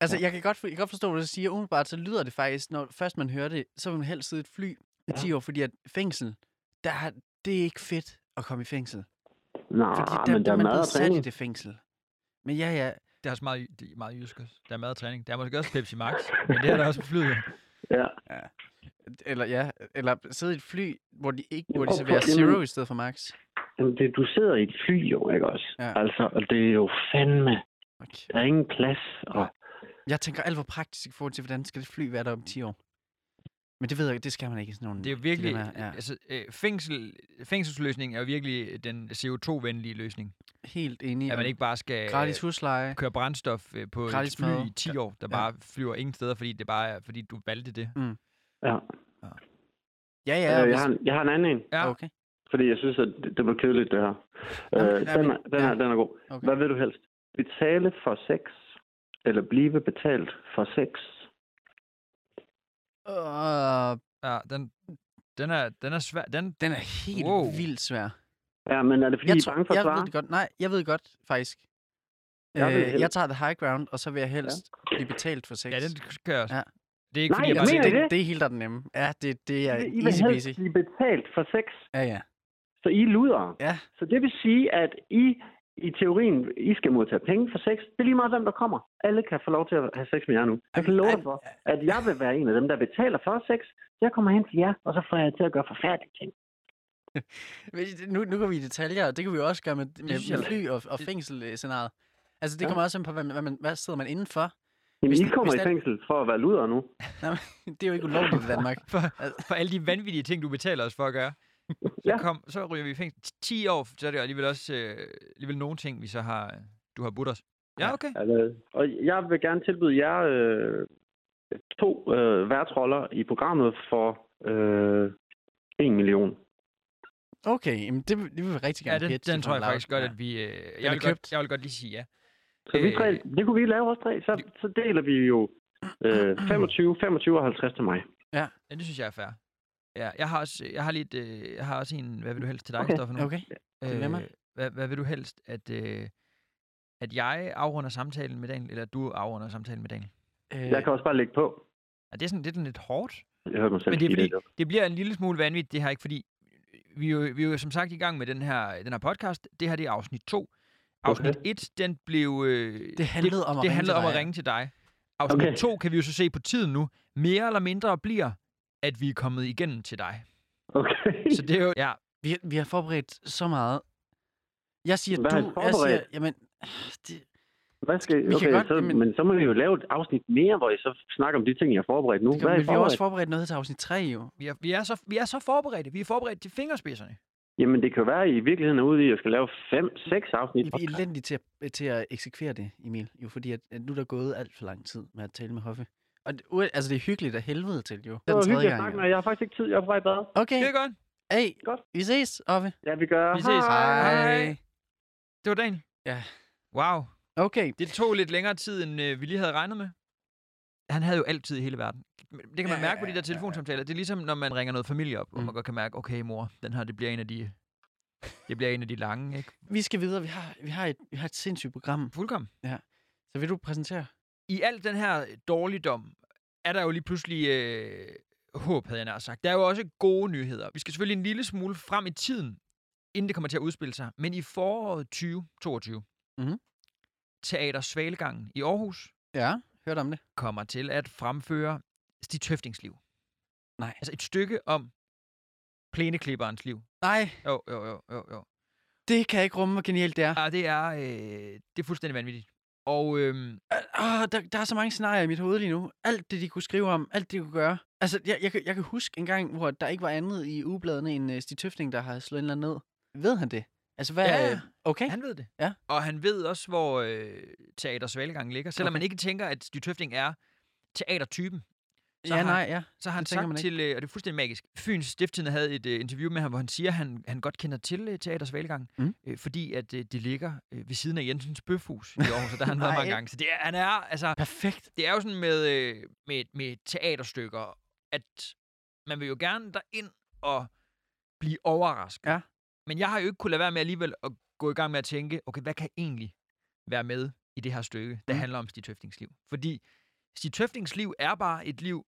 Speaker 2: Altså, jeg kan godt, for- jeg kan godt forstå, hvad du siger. Umiddelbart så lyder det faktisk, når først man hører det, så vil man helst sidde i et fly i
Speaker 4: Ja.
Speaker 2: 10 år, fordi at fængsel, der, har- det er ikke fedt at komme i fængsel.
Speaker 4: Nej,
Speaker 2: Fordi
Speaker 4: nah,
Speaker 2: der,
Speaker 4: Ah, men der er
Speaker 2: man
Speaker 4: mad
Speaker 2: blevet
Speaker 4: og
Speaker 2: sat i
Speaker 4: træning.
Speaker 2: det fængsel. Men ja, ja.
Speaker 1: Det er også meget, jy- det er meget jysk også. Der er meget træning. Der er måske også Pepsi Max, men det er der også på flyet.
Speaker 4: Ja.
Speaker 2: Eller ja, eller sidde i et fly, hvor de ikke hvor de
Speaker 4: Prøv-
Speaker 2: serverer
Speaker 4: prøv-
Speaker 2: Zero
Speaker 4: jamen-
Speaker 2: i stedet for Max.
Speaker 4: Jamen, det, du sidder i et fly jo, ikke også?
Speaker 2: Ja.
Speaker 4: Altså, og det er jo fandme.
Speaker 2: Okay.
Speaker 4: Der er ingen plads. Og
Speaker 2: Jeg tænker alt for praktisk i forhold til, hvordan skal det fly være der om 10 år? Men det ved jeg ikke, det skal man ikke i sådan nogle
Speaker 1: Det er jo virkelig,
Speaker 2: dilemmaer. ja.
Speaker 1: altså, øh, fængsel, fængselsløsningen er jo virkelig den CO2-venlige løsning.
Speaker 2: Helt enig.
Speaker 1: At man
Speaker 2: og
Speaker 1: ikke bare skal
Speaker 2: Gratis husleje.
Speaker 1: køre brændstof øh, på
Speaker 2: Gratis
Speaker 1: et fly
Speaker 2: mad.
Speaker 1: i 10 år, der
Speaker 2: Ja.
Speaker 1: bare flyver ingen steder, fordi det bare er, fordi du valgte det.
Speaker 4: ja.
Speaker 2: Ja, ja.
Speaker 4: Ja, øh, jeg,
Speaker 2: hvis-
Speaker 4: har en, jeg har en anden en,
Speaker 1: Ja,
Speaker 2: Okay.
Speaker 4: fordi jeg synes, at det, det var kedeligt, det her.
Speaker 2: Nå,
Speaker 4: Øh,
Speaker 2: men- nej,
Speaker 4: den,
Speaker 2: men-
Speaker 4: er, den,
Speaker 2: ja.
Speaker 4: er, den er god.
Speaker 2: okay.
Speaker 4: Hvad vil du helst? Betale for sex, eller blive betalt for sex?
Speaker 2: Øh,
Speaker 1: ja den, den, er, den er svær. Den,
Speaker 2: den er helt
Speaker 1: Wow.
Speaker 2: vildt svær.
Speaker 4: Ja, men er det, fordi
Speaker 2: jeg
Speaker 4: I er bange for at
Speaker 2: jeg
Speaker 4: svare?
Speaker 2: ved det godt. Nej, jeg ved godt, faktisk.
Speaker 4: Jeg vil
Speaker 2: Jeg, øh,
Speaker 4: helst-
Speaker 2: jeg tager the high ground, og så vil jeg helst ja. blive betalt for sex.
Speaker 1: ja, den kan jeg også.
Speaker 2: Ja.
Speaker 1: Det er ikke,
Speaker 4: Nej,
Speaker 1: fordi jeg
Speaker 4: jeg
Speaker 1: bare
Speaker 4: mener
Speaker 1: tænker-
Speaker 4: I
Speaker 2: det,
Speaker 4: det?
Speaker 2: det er helt der den nemme. Ja, det, det er
Speaker 4: I, vil- I vil
Speaker 2: easy
Speaker 4: helst
Speaker 2: peasy.
Speaker 4: blive betalt for sex,
Speaker 2: Ja, ja.
Speaker 4: så I luder.
Speaker 2: Ja.
Speaker 4: Så det vil sige, at I i teorien, I skal modtage penge for sex. Det er lige meget, hvem der kommer. Alle kan få lov til at have sex med jer nu. Jeg kan love dig for, at jeg vil være en af dem, der betaler for sex. Jeg kommer hen til jer, og så får jeg jer til at gøre forfærdelige ting.
Speaker 2: Men Nu, nu går vi i detaljer, og det kan vi jo også gøre med, med,
Speaker 1: synes jeg
Speaker 2: med
Speaker 1: da.
Speaker 2: fly og, og
Speaker 1: Det-
Speaker 2: fængselsscenariet. Altså, det
Speaker 4: Ja.
Speaker 2: kommer også an på, hvad, man- hvad, man, hvad sidder man indenfor?
Speaker 4: Jamen,
Speaker 2: Hvis
Speaker 4: I
Speaker 2: det-
Speaker 4: kommer
Speaker 2: hvis
Speaker 4: i
Speaker 2: det-
Speaker 4: fængsel for at være luder nu.
Speaker 2: Det er jo ikke ulovligt i Danmark.
Speaker 1: for, for alle de vanvittige ting, du betaler os for at gøre. Så,
Speaker 4: Ja.
Speaker 1: kom, så ryger vi i fængsel. 10 år, så er det alligevel også øh, alligevel nogle ting, vi så har, du har budt os. Ja,
Speaker 2: Ja.
Speaker 1: okay.
Speaker 4: Altså, og jeg vil gerne tilbyde jer øh, to øh, værtroller i programmet for øh, 1 million.
Speaker 2: Okay, jamen det, vil- det vil vi rigtig
Speaker 1: Ja,
Speaker 2: gerne
Speaker 1: den,
Speaker 2: pitche
Speaker 1: den
Speaker 2: for
Speaker 1: tror
Speaker 2: en
Speaker 1: jeg
Speaker 2: loud.
Speaker 1: faktisk godt,
Speaker 2: Ja.
Speaker 1: at vi... Øh,
Speaker 2: er
Speaker 1: jeg, vil
Speaker 2: købt.
Speaker 1: godt, jeg vil godt lige sige ja.
Speaker 4: Så vi tre,
Speaker 1: Øh.
Speaker 4: det kunne vi lave også tre. Så, så deler vi jo øh, 25, 25 og 50 til mig.
Speaker 1: ja. Det synes jeg er fair. Ja, jeg har også, jeg har lidt, øh, jeg har også en, hvad vil du helst til dig,
Speaker 4: Okay.
Speaker 1: Stoffer, nu?
Speaker 2: Okay. dilemma.
Speaker 1: hvad, hvad Øh, vil du helst, at, øh, at jeg afrunder samtalen med Daniel, eller at du afrunder samtalen med Daniel?
Speaker 2: Øh,
Speaker 4: Jeg kan også bare lægge på.
Speaker 1: Er det, er sådan, det er sådan lidt hårdt,
Speaker 4: Jeg hørte mig selv
Speaker 1: Men det er
Speaker 4: sige
Speaker 1: fordi,
Speaker 4: det.
Speaker 1: det bliver en lille smule vanvittigt, det her ikke, fordi øh, vi er jo, vi er jo som sagt i gang med den her, den her podcast. Det her, det er afsnit 2. Afsnit 1, den blev... Øh,
Speaker 2: Det handlede om at
Speaker 1: det
Speaker 2: ringe
Speaker 1: handlede
Speaker 2: til
Speaker 1: om
Speaker 2: dig,
Speaker 1: at
Speaker 2: ja.
Speaker 1: ringe til dig. Afsnit
Speaker 4: Okay.
Speaker 1: 2 kan vi jo så se på tiden nu. Mere eller mindre bliver, at vi er kommet igennem til dig.
Speaker 4: Okay.
Speaker 1: Så det er jo... Ja,
Speaker 2: Vi, vi har forberedt så meget. Jeg siger,
Speaker 4: Hvad har I
Speaker 2: du... Jeg siger,
Speaker 4: forberedt?
Speaker 2: jamen, det,
Speaker 4: Hvad skal,
Speaker 2: kan
Speaker 4: okay,
Speaker 2: godt-
Speaker 4: så,
Speaker 2: jamen-
Speaker 4: men så må vi jo lave et afsnit mere, hvor I så snakker om de ting, jeg har forberedt nu.
Speaker 2: det
Speaker 4: Hvad
Speaker 2: kan,
Speaker 4: er I
Speaker 2: men vi har også
Speaker 4: forberedt?
Speaker 2: forberedt noget til afsnit 3, jo.
Speaker 1: vi er, vi, er så, vi er så forberedte. Vi er forberedt til fingerspidserne.
Speaker 4: Jamen, det kan være, at I i virkeligheden er ude i, at jeg skal lave fem, seks afsnit.
Speaker 2: I er elendige til at, til at eksekvere det, Emil. Jo, fordi at, at nu er der gået alt for lang tid med at tale med Hoffe. Og det, ue- altså, det er hyggeligt af helvede til, jo.
Speaker 4: Det var
Speaker 2: tredje
Speaker 4: hyggeligt at
Speaker 2: gang,
Speaker 4: snakke
Speaker 2: jo.
Speaker 4: med jer. Jeg har faktisk ikke tid. Jeg er på vej i bad.
Speaker 2: Okay,
Speaker 1: Det er godt.
Speaker 2: hey,
Speaker 4: Godt.
Speaker 2: vi ses, Hoffe.
Speaker 4: Ja, vi gør.
Speaker 1: Vi ses.
Speaker 2: Hej.
Speaker 1: Det var dagen.
Speaker 2: Ja.
Speaker 1: Wow.
Speaker 2: Okay,
Speaker 1: Det tog lidt længere tid, end øh, vi lige havde regnet med. Han havde jo altid i hele verden. Det kan man
Speaker 2: Ja,
Speaker 1: mærke på
Speaker 2: ja,
Speaker 1: de
Speaker 2: ja,
Speaker 1: der telefonsamtaler. Det er ligesom, når man ringer noget familie op, hvor
Speaker 2: Mm.
Speaker 1: man godt kan mærke, okay mor, den her, det bliver en af de, det bliver en af de lange, ikke?
Speaker 2: vi skal videre. Vi har, vi har, et, vi har et sindssygt program.
Speaker 1: Fuldkommen.
Speaker 2: Så vil du præsentere?
Speaker 1: i al den her øh, dårligdom, er der jo lige pludselig øh, håb, havde jeg nær sagt. Der er jo også gode nyheder. Vi skal selvfølgelig en lille smule frem i tiden, inden det kommer til at udspille sig. Men i foråret 2022,
Speaker 2: Mhm.
Speaker 1: Teater Svalegangen i Aarhus
Speaker 2: Ja, hørte om det.
Speaker 1: kommer til at fremføre Stig Tøftings liv.
Speaker 2: Nej.
Speaker 1: Altså et stykke om plæneklipperens liv.
Speaker 2: Nej,
Speaker 1: Jo, jo, jo, jo, jo.
Speaker 2: det kan jeg ikke rumme, hvor genialt det er.
Speaker 1: Ah, det er, øh, det er fuldstændig vanvittigt. Og øhm,
Speaker 2: Ah, der, der er så mange scenarier i mit hoved lige nu. Alt det, de kunne skrive om, alt det, de kunne gøre. Altså, jeg, jeg, kan- jeg kan huske en gang, hvor der ikke var andet i ugebladene end uh, Stig Tøfting, der har slået en eller anden ned. Ved han det? Altså, hvad...
Speaker 1: Ja, ja.
Speaker 2: Okay.
Speaker 1: Han ved det.
Speaker 2: Ja.
Speaker 1: Og han ved også, hvor øh, Teater Svalegang ligger. Selvom
Speaker 2: Okay.
Speaker 1: okay. man ikke tænker, at Stig Tøfting er teatertypen, så
Speaker 2: ja,
Speaker 1: har-
Speaker 2: nej, ja.
Speaker 1: så har han
Speaker 2: Det tænker man
Speaker 1: sagt
Speaker 2: ikke.
Speaker 1: til, øh, og det er fuldstændig magisk, Fyns Stiftstidende havde et øh, interview med ham, hvor han siger, at han, han godt kender til øh, Teater Svalegang,
Speaker 2: Mm.
Speaker 1: øh, fordi at øh, det ligger øh, ved siden af Jensens Bøfhus i Aarhus, og der har han været
Speaker 2: Nej.
Speaker 1: mange gange. Så det er, han er, altså,
Speaker 2: Perfekt.
Speaker 1: det er jo sådan med, øh, med, med teaterstykker, at man vil jo gerne derind og blive overrasket.
Speaker 2: Ja.
Speaker 1: Men jeg har jo ikke kunnet lade være med alligevel at gå i gang med at tænke, okay, hvad kan egentlig være med i det her stykke, der
Speaker 2: Mm.
Speaker 1: handler om Stig Tøftings liv? Fordi Stig Tøftings liv er bare et liv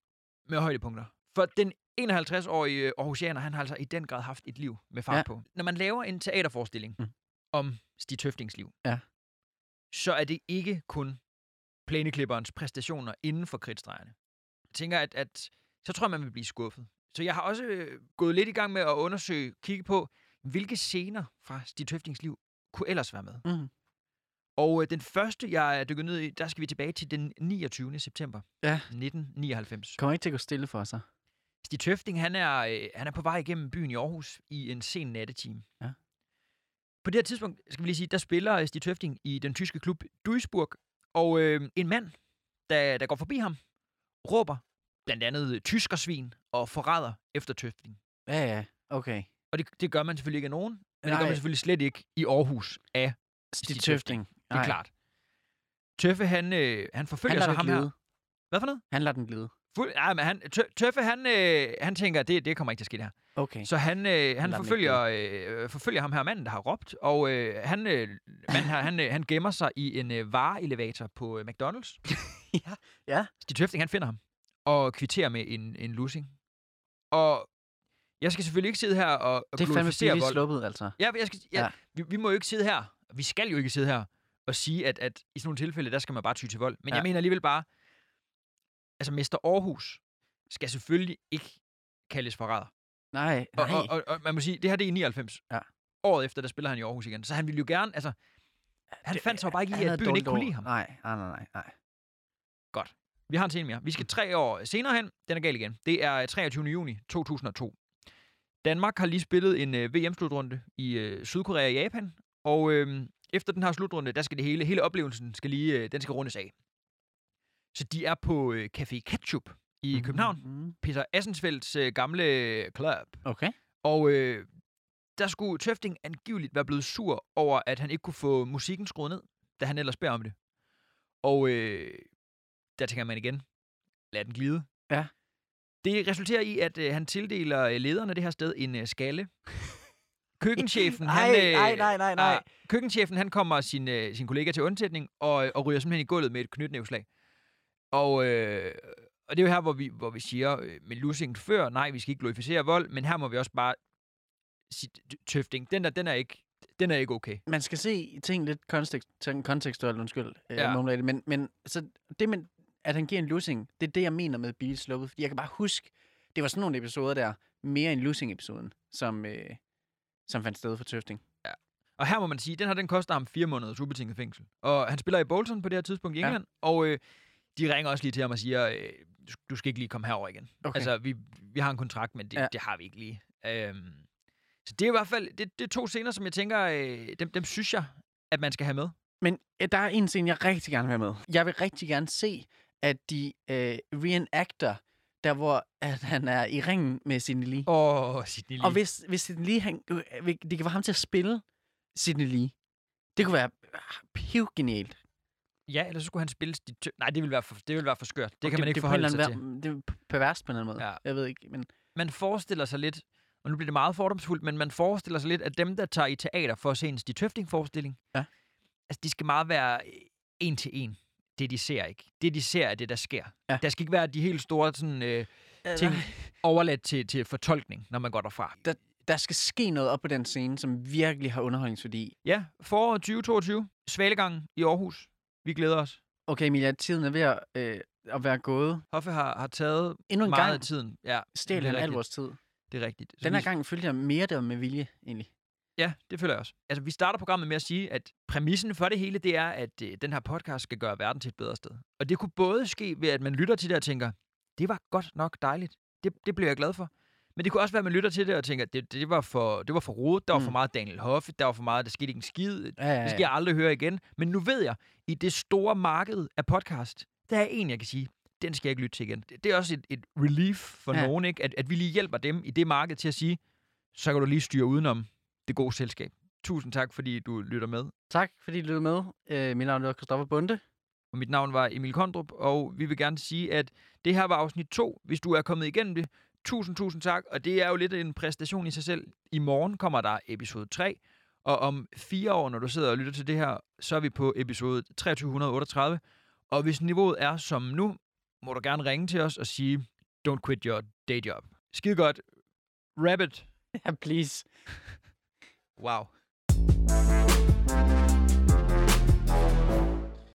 Speaker 1: med højdepunkter. For den 51-årige Aarhusianer, han har altså i den grad haft et liv med fart
Speaker 2: Ja.
Speaker 1: ja. på. Når man laver en teaterforestilling
Speaker 2: Mm.
Speaker 1: mm. om Stig Tøftings liv,
Speaker 2: Ja.
Speaker 1: så er det ikke kun planeklipperens præstationer inden for kridtstregerne. Jeg tænker, at, at så tror jeg, man vil blive skuffet. Så jeg har også øh, gået lidt i gang med at undersøge, kigge på, hvilke scener fra Stig Tøftings liv kunne ellers være med.
Speaker 2: Mhm.
Speaker 1: Og øh, den første, jeg er dykket ned i, der skal vi tilbage til den 29. september
Speaker 2: Ja.
Speaker 1: 1999.
Speaker 2: Kommer ikke til at gå stille for sig.
Speaker 1: Stig Tøfting, han er, øh, han er på vej igennem byen i Aarhus i en sen nattetime.
Speaker 2: Ja.
Speaker 1: På det her tidspunkt, skal vi lige sige, der spiller øh, Stig Tøfting i den tyske klub Duisburg, og øh, en mand, der, der går forbi ham, råber blandt andet øh, tyskersvin og forræder efter Tøfting.
Speaker 2: Ja, ja. Okay.
Speaker 1: Og det, det gør man selvfølgelig ikke af nogen, men Nej. det gør
Speaker 2: Nej.
Speaker 1: man selvfølgelig slet ikke i Aarhus af,
Speaker 2: Stig
Speaker 1: Stig
Speaker 2: Tøfting.
Speaker 1: det er klart. Tøffe, han, øh, han forfølger
Speaker 2: Han
Speaker 1: så
Speaker 2: lader
Speaker 1: ham
Speaker 2: den
Speaker 1: her.
Speaker 2: glide.
Speaker 1: Hvad for noget?
Speaker 2: Han lader den glide.
Speaker 1: Fuld, ja, men han, Tø- Tøffe, han, øh, han tænker, det, det kommer ikke til at ske det her.
Speaker 2: Okay.
Speaker 1: Så han, øh, han
Speaker 2: ikke
Speaker 1: forfølger, øh, forfølger ham her manden, der har råbt, og øh, han, øh, manden her, han, øh, han gemmer sig i en øh, vareelevator på øh, McDonald's.
Speaker 2: Ja, ja.
Speaker 1: Stig Tøfting, han finder ham og kvitterer med en, en lussing. Og jeg skal selvfølgelig ikke sidde her og, og
Speaker 2: Det er fandme
Speaker 1: glorificere
Speaker 2: billigt
Speaker 1: vold.
Speaker 2: sluppet, altså.
Speaker 1: Ja, jeg skal, ja,
Speaker 2: Ja.
Speaker 1: ja. Vi, vi må jo ikke sidde her, vi skal jo ikke sidde her og sige, at, at i sådan nogle tilfælde, der skal man bare ty til vold. Men
Speaker 2: Ja.
Speaker 1: ja. jeg mener alligevel bare, altså Mester Aarhus skal selvfølgelig ikke kaldes forræder.
Speaker 2: Nej,
Speaker 1: Og,
Speaker 2: nej.
Speaker 1: og, og, og man må sige, det her det er i 99.
Speaker 2: Ja.
Speaker 1: Året efter, der spiller han i Aarhus igen. Så han ville jo gerne, altså... Han
Speaker 2: Det-
Speaker 1: fandt sig jo bare ikke
Speaker 2: han
Speaker 1: i,
Speaker 2: havde
Speaker 1: at byen
Speaker 2: dårligt
Speaker 1: ikke kunne
Speaker 2: år.
Speaker 1: lide ham.
Speaker 2: Nej, nej, nej, nej, nej.
Speaker 1: Vi har en scene mere. Vi skal tre år senere hen. Den er gal igen. Det er 23. juni 2002. Danmark har lige spillet en øh, VM-slutrunde i øh, Sydkorea og Japan. Og øh, efter den her slutrunde, der skal det hele, hele oplevelsen skal lige, øh, den skal rundes af. Så de er på øh, Café Ketchup i mm-hmm. København.
Speaker 2: Mm.
Speaker 1: Peter Assensfelds øh, gamle øh, club.
Speaker 2: Okay.
Speaker 1: Og øh, der skulle Tøfting angiveligt være blevet sur over, at han ikke kunne få musikken skruet ned, da han ellers beder om det. Og øh, der tænker man igen, lad den glide.
Speaker 2: Ja.
Speaker 1: Det resulterer i, at øh, han tildeler øh, lederen af det her sted en øh, skalle. Køkkenchefen, han, øh,
Speaker 2: Ej, ej, nej, nej, nej.
Speaker 1: ah, køkkenchefen, han kommer sin, øh, sin kollega til undsætning og, øh, og ryger simpelthen i gulvet med et knytnævslag. Og, øh, og det er jo her, hvor vi, hvor vi siger øh, med lussing før, nej, vi skal ikke glorificere vold, men her må vi også bare sige, "T- tøfting, den der, den er ikke, den er ikke okay.
Speaker 2: man skal se ting lidt kontekst, sådan kontekstuelt, undskyld, ja.
Speaker 1: Ja.
Speaker 2: øh, men, men så det med, at han giver en lussing, det er det, jeg mener med Beatles sluppet, fordi jeg kan bare huske, det var sådan nogle episoder der, mere end lussing-episoden, som, øh, som fandt sted for Tøfting.
Speaker 1: Og her må man sige, den her, den koster ham fire måneders ubetinget fængsel. Og han spiller i Bolton på det her tidspunkt i
Speaker 2: Ja.
Speaker 1: England, ja. og øh, de ringer også lige til ham og siger, øh, du- du skal ikke lige komme herover igen.
Speaker 2: Okay.
Speaker 1: Altså, vi, vi har en kontrakt, men det,
Speaker 2: Ja.
Speaker 1: ja. det har vi ikke lige. Øhm, Så det er i hvert fald det, det er to scener, som jeg tænker, øh, dem, dem synes jeg, at man skal have med.
Speaker 2: Men øh, der er en scene, jeg rigtig gerne vil have med. Jeg vil rigtig gerne se, at de øh, reenacter, der hvor at han er i ringen med Sidney Lee. Og,
Speaker 1: Åh, oh, Sidney Lee.
Speaker 2: og hvis, hvis Sidney Lee, han, øh, vi- det kan være ham til at spille Sidney Lee. Det kunne være pivgenialt.
Speaker 1: Ja, eller så skulle han spille... De tø- Nej, det ville være for, det ville være for skørt. Det kan man ikke forholde sig til.
Speaker 2: til. Det er perverst på en eller anden måde.
Speaker 1: Ja.
Speaker 2: Ja. Jeg ved ikke, men
Speaker 1: Man forestiller sig lidt, og nu bliver det meget fordomsfuldt, men man forestiller sig lidt, at dem, der tager i teater for at se en Stig Tøfting-forestilling,
Speaker 2: Ja.
Speaker 1: altså, de skal meget være øh, en til en. Det, de ser ikke. Det, de ser, er det, der sker.
Speaker 2: Ja.
Speaker 1: Der skal ikke være de helt store sådan, øh, ting overladt til, til fortolkning, når man går derfra.
Speaker 2: der skal ske noget op på den scene, som virkelig har underholdningsværdi.
Speaker 1: Ja, foråret 2022. Svalegangen i Aarhus. Vi glæder os.
Speaker 2: Okay, Emilia, tiden er ved at, øh, at være gået.
Speaker 1: Hoffe har, har taget
Speaker 2: Endnu en
Speaker 1: meget af
Speaker 2: gang
Speaker 1: tiden. Ja,
Speaker 2: stjal
Speaker 1: det er
Speaker 2: han al
Speaker 1: rigtigt.
Speaker 2: vores tid.
Speaker 1: det er rigtigt. Så
Speaker 2: Den her
Speaker 1: vi-
Speaker 2: gang følte jeg mere der med vilje, egentlig.
Speaker 1: Ja, det føler jeg også. Altså, vi starter programmet med at sige, at præmissen for det hele, det er, at øh, den her podcast skal gøre verden til et bedre sted. Og det kunne både ske ved, at man lytter til det og tænker, det var godt nok dejligt. Det, det blev jeg glad for. Men det kunne også være, at man lytter til det og tænker, det, det var for, det var for rodet, der var for
Speaker 2: Mm.
Speaker 1: meget Daniel Hoffe, der var for meget, der skete ikke en skid,
Speaker 2: Ja, ja,
Speaker 1: det skal jeg aldrig høre igen. Men nu ved jeg, i det store marked af podcast, der er en, jeg kan sige, den skal jeg ikke lytte til igen. Det det er også et, et relief for ja.
Speaker 2: Ja.
Speaker 1: nogen, ikke? At, at vi lige hjælper dem i det marked til at sige, så kan du lige styre udenom det gode selskab. Tusind tak, fordi du lytter med.
Speaker 2: Tak, fordi I lyttede med. Øh, mit navn er Christoffer Bunde.
Speaker 1: Og mit navn var Emil Kondrup, og vi vil gerne sige, at det her var afsnit 2. Hvis du er kommet igennem det, tusind, tusind tak. Og det er jo lidt en præstation i sig selv. I morgen kommer der episode 3, og om fire år, når du sidder og lytter til det her, så er vi på episode 2338. Og hvis niveauet er som nu, må du gerne ringe til os og sige, don't quit your day job. Skide godt. Rabbit.
Speaker 2: Ja, please.
Speaker 1: Wow.